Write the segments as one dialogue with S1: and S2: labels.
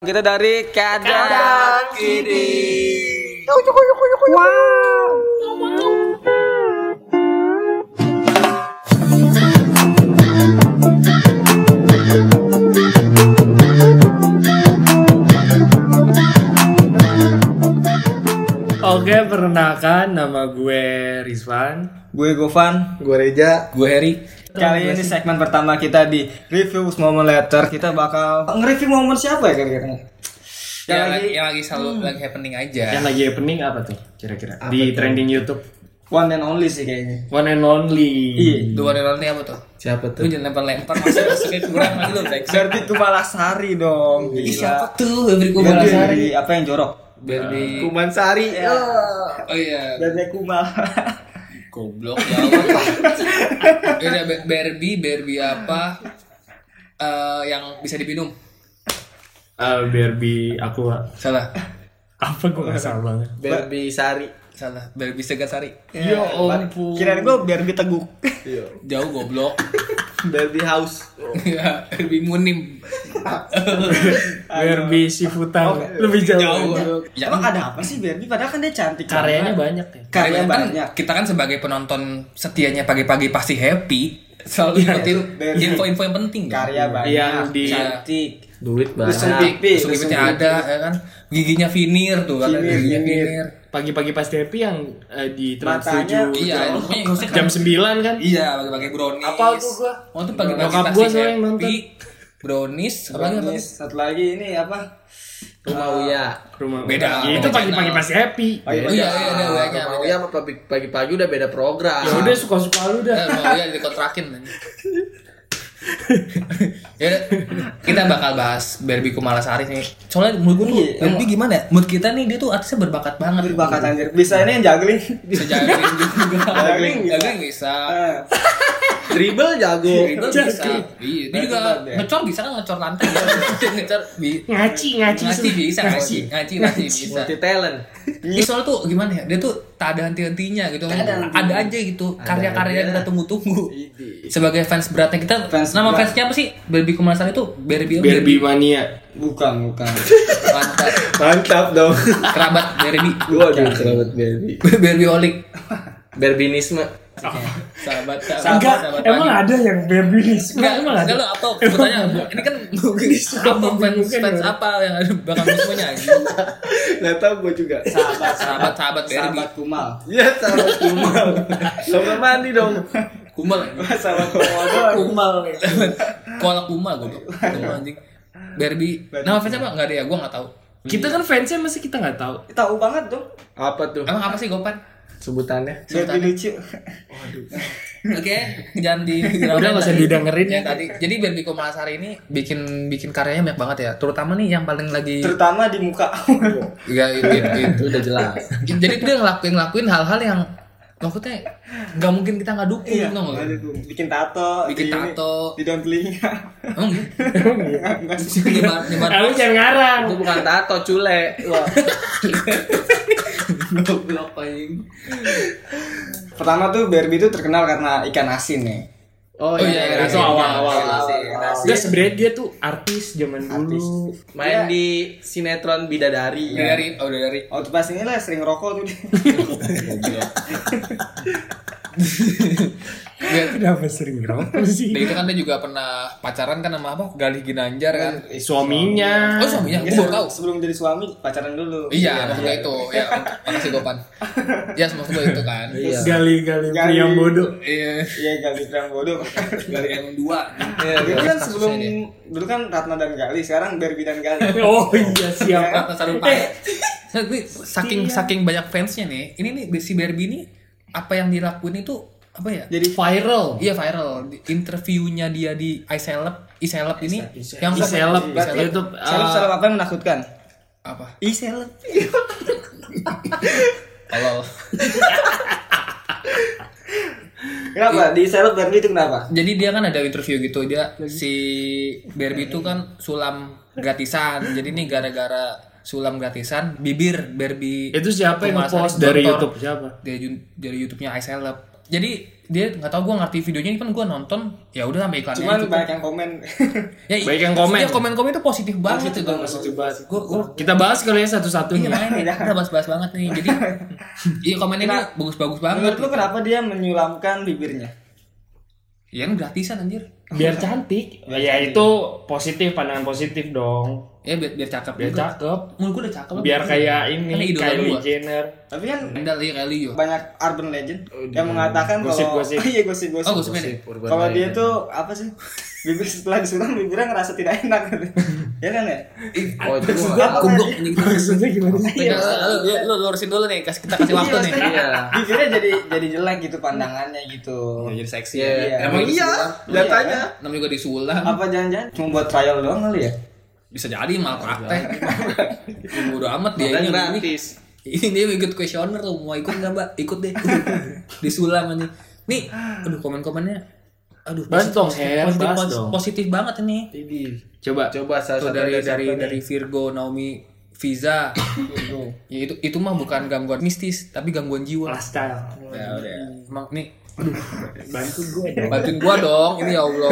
S1: Kita dari kadang
S2: Kadang
S1: ini.
S2: Oke, perkenalkan nama gue Rizwan.
S1: Gue Govan,
S3: Gue Reja
S1: gue Heri. Kali ini segmen pertama kita di review momen letter. Kita bakal nge-review momen siapa ya kira-kira? Yang
S4: yang,
S1: lagi Hmm.
S4: lagi, yang lagi selalu lagi happening aja.
S2: Yang lagi happening apa tuh kira-kira? Di trending YouTube
S1: one and only sih kayaknya.
S2: One and Only.
S1: Iya.
S4: Dua dari nanti apa tuh?
S3: Siapa
S4: Lu jangan lempar-lempar masuk masuknya kurang lagi lu Zack.
S1: Berarti Kumalasari dong.
S4: Ih,
S1: Gila.
S4: siapa tuh Febri Kumalasari?
S1: Dari apa yang jorok?
S4: Berbi.
S3: Kuman Sari
S4: Oh iya,
S1: Dari Kumal.
S4: goblok ya. Beda Be- Berbi, Berbi apa? Eh, yang bisa diminum.
S2: Eh, Barbie aku
S4: Salah.
S2: apa gue nggak salah banget.
S3: Berbi Sari
S4: Salah. Berbi Segasari.
S2: Ya ampun.
S1: Iya. Kirain gue biar diteguk.
S4: Jauh goblok.
S3: Berbi House
S4: Ya, Berbi Munim.
S2: Barbie Sifutan lebih jauh.
S4: Jauh.
S1: Ya,
S4: Ya,
S1: Emang ada apa sih Barbie? Padahal kan dia cantik.
S2: Karyanya banyak ya.
S1: Karya
S4: kan
S1: banyak.
S4: kita kan sebagai penonton setianya pagi-pagi pasti happy selalu ngikutin
S1: Berbi.
S4: info-info yang penting kan?
S1: Karya banyak.
S2: Yang di-
S1: cantik.
S3: Duit
S1: Besar.
S3: banyak
S1: pipi,
S4: Tusuk
S1: tusuk
S4: pipinya ada ya kan giginya finir tuh kan
S1: Finir,
S4: giginya
S1: finir.
S4: finir
S2: Pagi-pagi pasti happy yang eh, di Trans
S1: Matanya-
S2: 7.
S4: iya pokoknya harusnya kan
S2: Jam 9 kan?
S4: iya pakai brownies
S2: Apal tuh gua.
S4: oh tuh pagi-pagi
S2: Nyokap
S4: pasti
S2: gua soalnya yang
S4: happy
S2: nonton.
S4: brownies apa lagi apa
S1: Brownies. Satu lagi ini apa?
S3: Rumah Uya
S2: Rumah.
S4: Beda.
S2: Ya, itu pagi-pagi pasti happy.
S4: lagi? oh iya iya ada banyak
S3: Rumah Uya sama pagi- pagi-pagi udah beda program
S2: Ya udah suka-suka lu dah.
S4: Eh, mau ya dikontrakin man. ya udah, kita bakal bahas Barbie Kumalasari nih soalnya menurut gue tuh
S1: Iya,
S4: Barbie gimana ya menurut kita nih dia tuh artisnya berbakat banget
S1: Berbakat anjir. Bisa ini yang juggling.
S4: bisa juggling juga
S1: Juggling bisa.
S4: juggling bisa
S1: Eh,
S3: Dribble jago
S4: Dribble Iya, bisa iya dia juga
S1: Hebat ya.
S4: ngecor bisa kan ngecor lantai kan? ngecor bi-
S2: Ngaci, ngaci.
S4: ngaci bisa ngaci
S2: Ngaci.
S4: ngaci ngaci bisa
S3: Multi talent
S4: Ih, soalnya tuh gimana ya dia tuh tak ada henti-hentinya gitu
S1: Tak ada henti-hentinya.
S4: ada aja gitu karya-karya yang kita tunggu-tunggu
S3: Idi.
S4: sebagai fans beratnya kita
S1: Iya. Fans
S4: nama
S1: berat.
S4: fansnya apa sih Barbie Kumalasari itu Barbie
S2: Barbie mania.
S1: bukan, bukan.
S4: mantap
S3: Mantap dong
S4: kerabat Barbie
S3: Waduh selamat Berbi
S4: Barbie Olik
S3: Berbinisme
S4: sahabat
S2: Enggak,
S4: sahabat sahabat
S2: emang
S4: pagi.
S2: ada yang berbinis.
S4: Enggak, enggak lo apa? Bertanya, ini kan apa fans, fans apa yang ada bakal semuanya anjing.
S3: Gak tau gue juga
S1: Sahabat, Iya. sahabat,
S4: Sahabat-sahabat Barbie.
S1: sahabat Kumal.
S3: Ya sahabat Kumal Sama mandi dong
S4: Kumal anjing.
S1: Sahabat Kumal doang. Kumal.
S4: Kolak Kumal goblok. Kumal anjing. Barbie. Nama fans apa? Enggak ada ya, gua enggak tahu.
S2: Kita kan fansnya masih kita nggak tahu.
S1: Tahu banget dong.
S3: Apa tuh
S4: Emang apa sih Gopan?
S3: sebutannya
S1: Barbie lucu.
S4: Oke, jangan di
S2: Udah nggak usah didengerin.
S4: Ya tadi. Jadi Barbie Kumalasari ini bikin bikin karyanya banyak banget ya. Terutama nih yang paling lagi
S1: Terutama di Iya. muka.
S4: ya itu, itu, itu.
S3: Itu udah jelas
S4: Jadi dia ngelakuin ngelakuin hal-hal yang maksudnya nggak mungkin kita nggak dukung
S1: Iya.
S4: tau nggak?
S1: Bikin tato. Oh, iya.
S4: Bikin
S1: di ini,
S4: tato.
S1: Di daun telinga.
S4: Emang gitu? Nyebar nyebar
S2: Kamu jangan ngarang.
S3: Itu bukan tato cule
S4: goblok anjing.
S1: Pertama tuh Barbie itu terkenal karena ikan asin nih.
S3: Oh
S4: iya,
S3: iya,
S4: itu
S3: iya.
S4: awal-awal.
S2: Dia sebenarnya dia tuh artis zaman
S1: Artis.
S2: dulu.
S3: Main di sinetron Bidadari
S4: Udah dari, oh, udah dari.
S1: Waktu pas ini lah sering rokok tuh dia.
S4: Dia,
S2: Kenapa sering rokok sih?
S4: dia itu kan dia juga pernah pacaran kan sama apa? Galih Ginanjar kan.
S1: Eh,
S2: Suaminya.
S4: Oh, suaminya
S1: Iya,
S4: gua baru tahu.
S1: sebelum jadi suami pacaran dulu.
S4: Iya, maksudnya itu. Ya, makasih Gopan. Ya, maksud gua itu kan.
S3: Iya.
S2: Gali-gali
S1: Gali.
S2: pria bodoh.
S4: Iya.
S1: Iya, Gali Pram bodoh.
S4: Dari yang dua.
S1: Iya, dulu kan
S4: kasusnya
S1: sebelum
S4: dia.
S1: dulu kan Ratna dan Gali, sekarang Barbie dan Gali. kan?
S2: Oh iya siapa?
S4: Ratna Sarumpait. Nah, gue saking saking banyak fansnya nih. Ini nih si Barbie ini apa yang dilakuin itu apa ya?
S2: Jadi viral.
S4: Iya viral. Di- Interviewnya dia di iCeleb, iCeleb ini yang
S2: Iseleb
S4: Iya,
S1: Berarti
S2: YouTube. eh,
S1: Seleb seleb apa yang menakutkan?
S4: apa?
S1: Ih seleb.
S4: Kalau
S3: Iya.
S1: Kenapa? Di seleb Barbie itu kenapa?
S4: jadi dia kan ada interview gitu dia si Barbie itu kan sulam gratisan. Jadi ini gara-gara sulam gratisan bibir Barbie
S2: Itu siapa yang
S4: Kumalasari
S2: nge-post dari
S4: jontor.
S2: YouTube siapa?
S4: Dari Ju- dari YouTube-nya iCeleb. Jadi dia nggak tahu gue ngerti videonya ini kan gue nonton ya udah sampai iklannya
S1: Cuman
S4: itu.
S1: banyak yang komen.
S4: ya,
S2: Banyak yang komen.
S4: iya, komen-komen itu positif banget
S1: Positif
S4: itu
S1: banget, positif banget.
S4: gue
S2: Kita bahas kali ya
S4: Iya
S2: satu-satunya.
S4: makanya nih, kita bahas-bahas banget nih. Jadi iya komennya ini bagus-bagus banget. gitu.
S1: Menurut lu kenapa dia menyulamkan bibirnya?
S4: Iya kan gratisan anjir.
S2: Biar cantik. Ya itu positif pandangan positif dong.
S4: Ya biar, biar cakep
S2: Biar
S4: juga.
S2: cakep.
S4: Menurut gua udah cakep. lah.
S2: Biar kayak
S4: Kan
S2: ini
S4: idola
S2: Kylie
S4: gua.
S2: Jenner.
S1: Tapi kan
S4: Kendal iya kayak Leo.
S1: banyak urban legend yang mengatakan kalau
S2: Oh, Gosip-gosip.
S1: iya gosip-gosip.
S4: Oh, gosipnya nih.
S1: Kalau dia tuh apa sih? Bibir setelah disulam bibirnya ngerasa tidak enak ya kan ya?
S3: Oh, itu gua
S1: Gua
S3: nggak tahu.
S4: Goblok anjing.
S2: Maksudnya gimana
S1: Iya,
S4: Lu lu lurusin dulu nih, kasih kita kasih waktu nih.
S3: Iya.
S1: Bibirnya jadi jadi jelek gitu pandangannya gitu.
S4: Jadi seksi.
S5: ya.
S3: Iya.
S1: Iya.
S3: Emang iya,
S1: Iya.
S3: datanya.
S4: Namanya juga disulam.
S1: Apa jangan-jangan cuma buat trial doang kali ya?
S4: Bisa jadi malah praktek. Bodo amat dia
S3: Dan
S4: ini. ini-
S3: gratis.
S4: Ini dia ikut kuesioner tuh, mau ikut nggak mbak? Ikut deh. disulam anjing. Nih, aduh komen-komennya Aduh,
S2: Bahas
S4: positif-
S2: dong, Her,
S4: positif,
S2: bahas
S4: positif-
S2: dong.
S4: positif banget ini.
S2: Coba.
S3: Coba salah
S4: Tuh
S3: satu
S4: dari
S3: ada
S4: dari
S3: siapa
S4: dari
S3: nih?
S4: Virgo Naomi Visa ya itu itu mah bukan gangguan mistis tapi gangguan jiwa
S2: Lifestyle.
S4: ya udah emang nih
S2: Bantu gue dong.
S4: bantuin gua dong ini ya Allah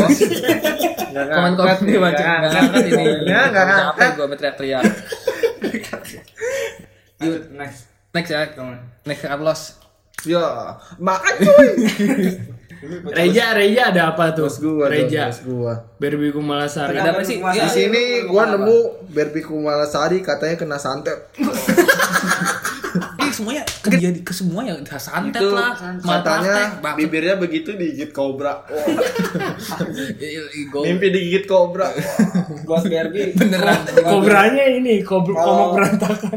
S4: komen komen nih baca
S3: nggak ngangkat
S4: nggak ngangkat ini
S3: Ya, nggak
S4: apa gua teriak teriak
S1: Lanjut, next.
S4: next ya next Carlos
S3: Yo, Iya. makan cuy.
S2: Reja, Reja ada apa tuh?
S5: Terus gua dong,
S2: Reja.
S5: terus gua.
S2: Barbie Kumalasari.
S4: ada apa sih
S1: Mas-
S4: Iya,
S5: Di sini gua nemu Barbie Kumalasari katanya kena santet.
S4: ini semuanya kejadian ke semua yang santet
S3: Itu
S4: lah
S5: Katanya
S4: bibir
S5: bibirnya begitu digigit kobra. Wah,
S4: gue
S5: mimpi digigit kobra.
S1: Buat Barbie.
S4: beneran
S2: Kobranya ini, kobra
S1: Kalau-
S2: komok berantakan.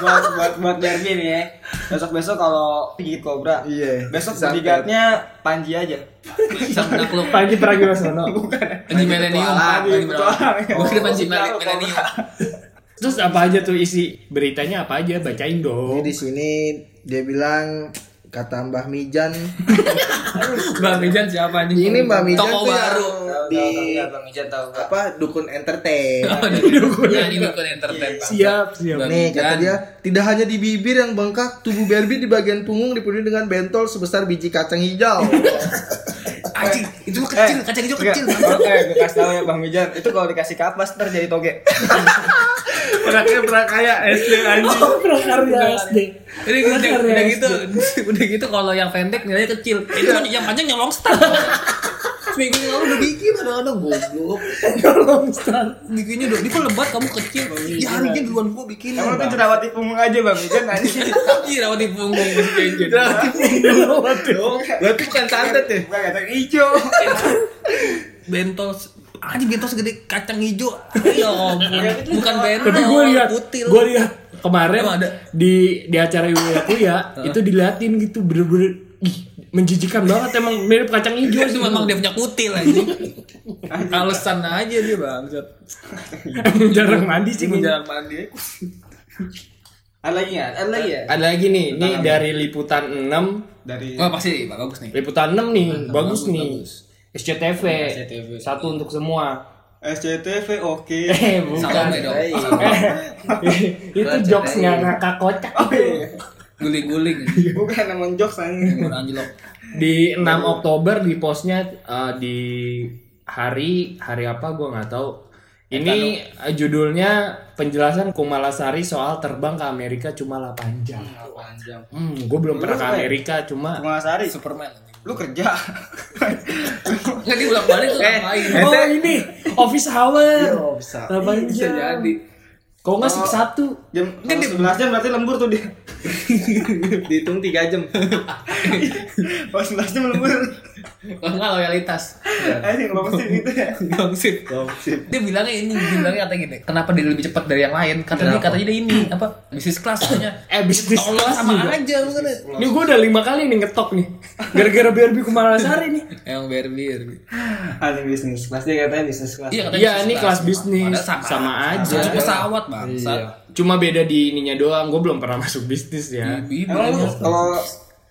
S1: buat buat buat Barbie nih ya. Besok besok kalau gigit kobra.
S5: Iya.
S1: Besok
S5: Santet.
S1: bodyguardnya Panji aja.
S4: sama lu
S2: Panji Pragiwaksono.
S4: di milenium
S1: Petualang,
S4: Panji
S1: petualang.
S4: Milenium. Gua kira Panji Mil- milenium
S2: Terus apa aja tuh isi beritanya apa aja bacain
S5: Jadi
S2: dong.
S5: di sini dia bilang kata Mbah Mijan.
S4: Mbak Mijan siapa nih?
S5: Ini Mbah Mijan
S4: Toko
S5: tuh ya. yang
S4: baru.
S5: Oh, di
S1: Bang Ijan tahu nggak?
S5: apa dukun entertain.
S4: Nah, ini bukan entertain. Pak.
S2: Siap, siap.
S4: Mbak
S5: Nih kata
S4: Mijan.
S5: dia tidak hanya di bibir yang bengkak, tubuh Barbie di bagian punggung dipenuhi dengan bentol sebesar biji kacang hijau.
S4: Anjing, itu mah kecil,
S1: Eh,
S4: kacang hijau
S1: Enggak,
S4: kecil.
S1: eh, gue kasih tau ya Bang Mijan Itu kalau dikasih kapas ntar jadi toge
S2: Prakarya Prakarya SD anjing. Prakarya SD.
S4: Ini udah, udah gitu, udah gitu kalau yang pendek nilainya kecil. Itu kan yang panjang yang long star. Seminggu yang lalu udah bikin ada-ada goblok. Bikinnya udah, ini kok lebat kamu kecil. Ya hari ini duluan gua bikin.
S1: Kamu lebih jerawat di punggung aja Bang Mijan anjing.
S4: Iya, rawat di punggung masih genjen.
S2: Iya,
S3: Berarti bukan santet ya?
S1: Bukan kacang hijau
S4: Bentol anjing bentol segede kacang hijau. Ya ampun. Bukan bentol,
S2: Tapi gue lihat,
S4: putil.
S2: gue lihat kemarin
S4: Emang ada?
S2: di di acara ibu ya, itu diliatin gitu bener-bener ih menjijikan banget emang mirip kacang hijau
S4: Itu memang dia punya kutil anjing. Alasan aja dia bangsat.
S2: Emang jarang mandi sih
S4: Ini
S2: gua.
S4: jarang mandi.
S1: Ada lagi ya? Ada lagi ya?
S2: Ada lagi nih, ini dari liputan 6
S1: Dari
S4: Wah pasti bagus nih.
S2: Liputan 6 nih, bagus, nih SCTV,
S1: SCTV.
S2: satu untuk semua
S1: SCTV oke
S2: Eh bukan Eh,
S4: Salome dong.
S1: Hey.
S2: Itu jokesnya ngakak kocak
S1: Eh.
S4: Guling-guling.
S2: Iya.
S1: Bukan emang jokes anjing
S4: Bukan anjlok.
S2: Di 6 Oktober di posnya eh, di hari, hari apa gue nggak tahu ini eh, judulnya penjelasan Kumalasari soal terbang ke Amerika cuma 8 jam.
S1: Panjang
S2: Hmm, gue belum pernah ke
S1: apa ya?
S2: Amerika cuma
S1: Cuma sehari
S4: Superman.
S1: Lu kerja
S4: Enggak diulang balik tuh ngapain?
S2: Oh ini office Iya, hour.
S5: bisa.
S2: 8
S4: Bisa
S2: jam.
S4: jadi.
S2: Kok nggak sih satu?
S1: Jam
S4: Kan dia-
S1: 11 jam berarti lembur tuh dia
S3: Dihitung 3 jam.
S1: Pas 11 jam lembur
S4: Kalau nggak loyalitas.
S1: Anjing lo pasti gitu ya
S4: Gongsip. Dia bilangnya ini, dia bilangnya kata gini. Kenapa dia lebih cepat dari yang lain? Katanya katanya dia ini apa? Bisnis kelas katanya.
S2: Eh bisnis
S4: Tolong
S2: kelas
S4: sama
S2: juga.
S4: aja lu kan.
S2: Ini gue udah lima kali nih ngetok nih. Gara-gara Barbie Kumalasari nih.
S4: Emang Barbie.
S1: Anjing Ah, bisnis kelas Dia katanya bisnis kelas
S4: Iya, katanya
S2: Iya,
S4: bisnis
S2: ini kelas bisnis.
S4: Padahal
S2: Sama aja.
S4: Masuk pesawat, Bang.
S2: Cuma beda di ininya doang. Gue belum pernah masuk bisnis ya.
S1: Hmm.
S4: Bibi
S1: Emang lu
S4: bilangnya.
S1: kalau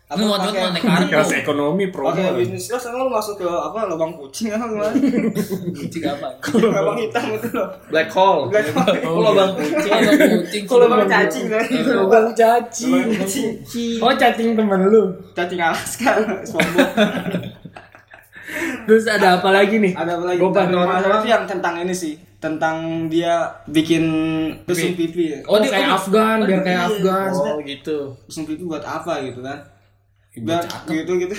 S1: Apa
S4: Lu waktu itu
S1: pakai-
S4: naik kartu.
S2: Kelas
S1: Hmm.
S2: ekonomi promo.
S1: Pakai bisnis kelas emang lu masuk ke apa lubang kucing apa gimana?
S4: Kucing apa?
S1: lubang hitam itu loh.
S3: Black hole.
S1: Black hole.
S4: Kalau bang kucing, kalau kucing.
S1: Kalau lubang cacing kan. Lubang
S2: Lubang cacing.
S1: kucing.
S2: Oh cacing temen lu.
S1: Cacing Alaska. Sombong.
S2: Terus ada apa lagi nih?
S1: Ada apa lagi?
S2: Gua
S1: Tentang
S2: baru-
S1: Tapi yang tentang ini sih, tentang dia bikin pesum pipi ya.
S2: Oh, dia kayak Afgan,
S1: iya.
S2: biar kayak Afgan.
S5: Oh gitu.
S1: Pesum pipi buat apa gitu kan? Biar
S5: Iya,
S1: gitu gitu.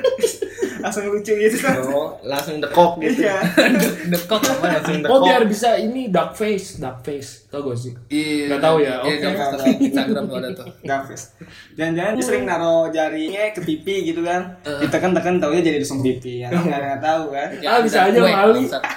S1: Langsung lucu gitu kan.
S5: Oh, langsung dekok gitu.
S1: Iya.
S4: Dekok apa ya?
S5: Langsung
S2: Oh, biar
S5: dekok.
S2: bisa ini dark face, dark face. Tau gak sih?
S4: Iya.
S2: Nggak tahu ya,
S4: Iya,
S2: oke.
S4: nggak tahu. Instagram tuh ada tuh.
S1: Gafes. Jangan-jangan dia sering naro jarinya ke pipi gitu kan.
S5: Eh.
S1: Ditekan-tekan taunya jadi pesum pipi. Ya enggak enggak tahu kan.
S4: Ya,
S2: Ah, bisa aja,
S4: gue,
S2: Mali.
S4: bangsat.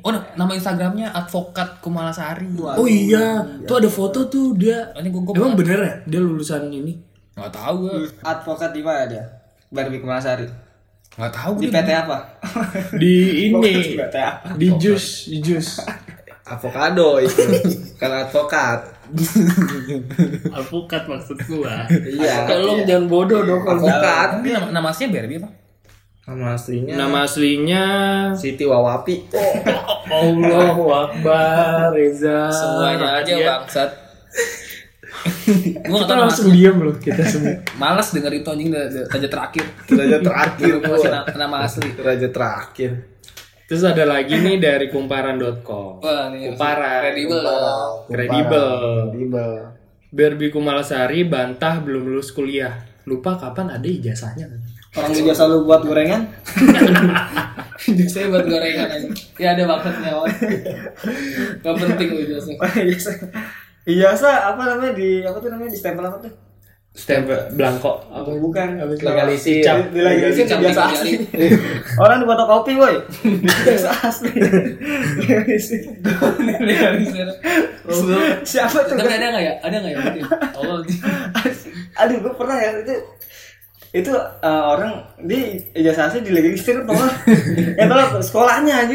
S4: Oh, nah, nama Instagramnya Advokat Kumalasari.
S2: Oh iya, tuh ada foto tuh dia.
S4: Ini gue gue
S2: Emang bener ya dia lulusan ini?
S4: nggak tahu gue.
S5: Iya.
S1: Advokat di mana dia? Barbie Kemasari.
S4: Nggak tahu
S1: Di
S4: gue.
S1: PT apa?
S2: Di ini,
S1: Di PT apa?
S2: di jus, di jus.
S5: Avocado itu. Kan advokat.
S2: Alpukat maksud gua.
S5: Iya.
S2: Tolong jangan bodoh dong.
S5: Advokat.
S4: Tapi nama, nama aslinya Barbie apa?
S5: Nama aslinya
S2: Nama aslinya
S5: Siti Wawapi.
S2: Allahu Akbar
S5: Eh,
S2: Reza.
S4: Semuanya aja
S5: iya.
S2: Radia.
S4: bangsat. gue nggak
S2: Kita
S4: tahu nama
S2: langsung diam loh kita semua.
S4: Malas denger itu anjing dari- dari raja terakhir.
S5: Raja terakhir
S4: Gue
S5: gua.
S4: kasih na- nama asli.
S5: Raja terakhir.
S2: Terus ada lagi nih dari kumparan.com.
S4: Wah, nih.
S2: Kumparan.
S4: Kredibel dong.
S2: Kredibel.
S5: Kredibel.
S2: Berbi Kumalasari bantah belum lulus kuliah. Lupa kapan ada ijazahnya.
S1: Orang dia selalu buat gorengan.
S4: Saya buat gorengan aja. Ya ada bangsatnya. Wan. Nggak penting lu jelasin.
S1: Iya, sa apa namanya di apa tuh namanya di stempel apa tuh?
S2: Stempel blanko. Apa?
S1: Bukan. Iya,
S2: Apa itu?
S5: Legalisir.
S2: Cap.
S1: Dilegalisin
S4: Camping
S1: biasa
S4: jari.
S1: asli. Orang di fotokopi, woi. Biasa asli. Legalisir.
S4: Legalisir.
S1: Siapa tuh?
S4: Tapi ada nggak ya? Ada nggak ya? iya. Mungkin. Allah.
S1: Aduh, gue pernah ya itu itu eh, orang di ijazah asli dilegalisir tolong ya tolong sekolahnya aja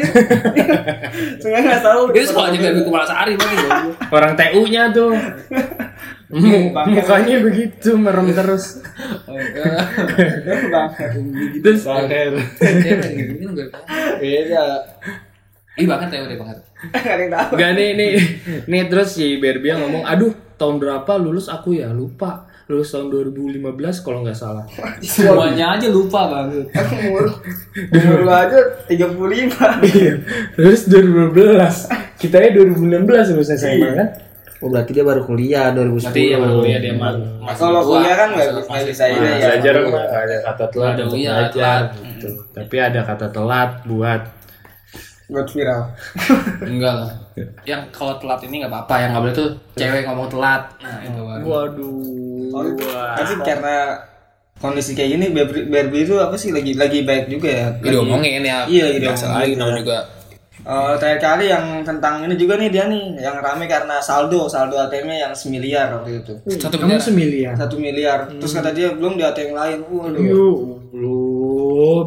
S1: sengaja nggak tahu
S4: Itu sekolahnya Barbie Kumalasari mungkin.
S2: Orang TU-nya tuh. Mu- Mukanya begitu merem terus.
S4: iya.
S2: Terus
S4: Iya,
S5: Beda.
S4: gitu, Ih banget ya udah banget.
S1: nggak ada yang tahu
S2: Gak nih nih nih terus si Berbia ngomong, aduh tahun berapa lulus aku ya lupa lulus tahun 2015 kalau nggak salah.
S4: Semuanya aja lupa banget.
S1: umur umur gua aja tiga puluh lima
S2: Iya. Terus 2012 kita ya 2016 lulus SMA kan?
S5: Oh berarti dia baru kuliah 2010.
S2: Berarti ya baru kuliah dia mah
S1: kalau kuliah kan nggak nggak bisa ini ya
S2: belajar mah nggak ada kata telat
S4: Ada
S2: untuk
S4: iya,
S2: belajar
S4: telat.
S2: gitu. Tapi ada kata telat buat
S1: buat viral
S4: Enggak lah. Yang kalau telat ini nggak apa-apa. Yang nggak boleh tuh cewek ngomong telat. Nah itu baru.
S2: waduh.
S1: tapi karena kondisi kayak gini Barbie, Barbie itu apa sih lagi lagi baik juga ya
S4: Ini diomongin ya.
S1: Iya, jadi
S4: Nggak salah
S1: omongin.
S4: lagi namanya juga.
S1: Eh, terakhir kali yang tentang ini juga nih dia nih yang rame karena saldo saldo ATM-nya yang semiliar waktu itu
S4: Satu
S2: Kamu
S4: bendera.
S2: semiliar.
S1: satu miliar terus kata
S4: Hmm.
S1: dia belum di ATM lain waduh
S2: Yuk, lu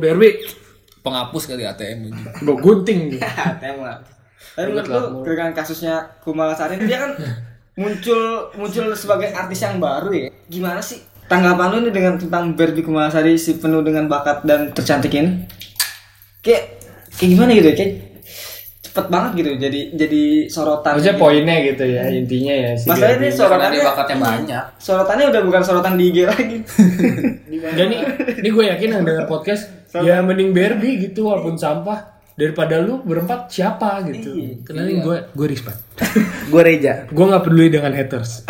S2: Berbi,
S4: Penghapus kali ATM. ini.
S2: gue gunting.
S4: Iya.
S1: ATM lah tapi menurut lu dengan kasusnya Kumalasari ini, dia kan muncul muncul sebagai artis yang baru ya gimana sih tanggapan lu nih dengan tentang Barbie Kumalasari si penuh dengan bakat dan tercantik ini kayak kayak gimana gitu ya? kayak cepet banget gitu jadi jadi sorotan
S2: Maksudnya
S1: gitu.
S2: poinnya gitu ya intinya ya. Si
S1: masalahnya ini
S4: Karena dia
S1: sorotannya
S4: bakatnya banyak.
S1: sorotannya udah bukan sorotan di IG lagi
S2: Dan nih, ini gue yakin yang denger podcast ya mending Barbie gitu walaupun sampah daripada lu berempat siapa gitu. Kenalin gue gue Rispan.
S5: Gue Reja.
S2: gue nggak peduli dengan haters.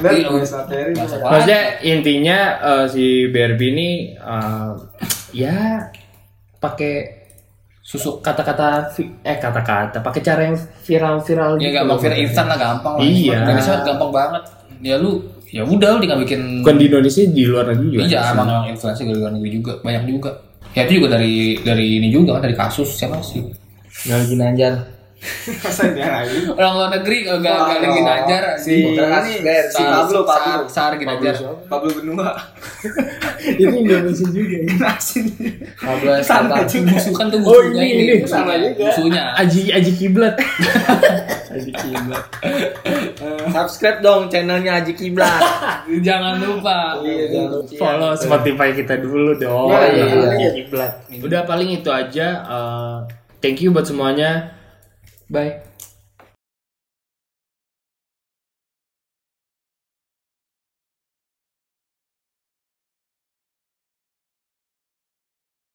S1: benar
S4: Iya,
S1: nggak usah materi
S4: Nggak usah banyak.
S2: Maksudnya intinya eh, si Barbie ini eh, ya pakai susu kata-kata vi- eh kata-kata pakai cara yang viral-viral
S4: Ya
S2: gitu
S4: gampang
S2: loh.
S4: viral instan lah gampang lah.
S2: Iya.
S4: Indonesia gampang banget. Ya lu ya udah lu tinggal bikin
S2: Bukan di Indonesia di luar negeri juga.
S4: Iya, emang emang influencer dari luar negeri juga banyak juga. Ya itu juga dari dari ini juga kan dari kasus siapa sih?
S5: Nalgin Anjar.
S1: Masa dia lagi?
S4: Orang luar negeri kalau gak gak lagi ngajar
S1: Si ini si Pablo Pablo
S4: Sar gini ajar.
S1: Pablo benua.
S2: Itu Indonesia juga.
S1: Asin.
S4: Pablo
S1: Sama
S4: Escobar.
S1: juga.
S4: Musuh kan tuh
S2: Oh,
S4: musuhnya
S2: ini,
S4: ini.
S2: ini.
S4: musuhnya.
S1: Sama juga.
S4: Musuhnya.
S2: Aji Aji kiblat. Aji kiblat.
S5: Subscribe dong channelnya Aji Kiblat.
S4: Jangan lupa.
S2: Follow Spotify kita dulu dong.
S5: Ya, iya, iya.
S2: Aji kiblat. Udah paling itu aja. eh, thank you buat semuanya. Bye.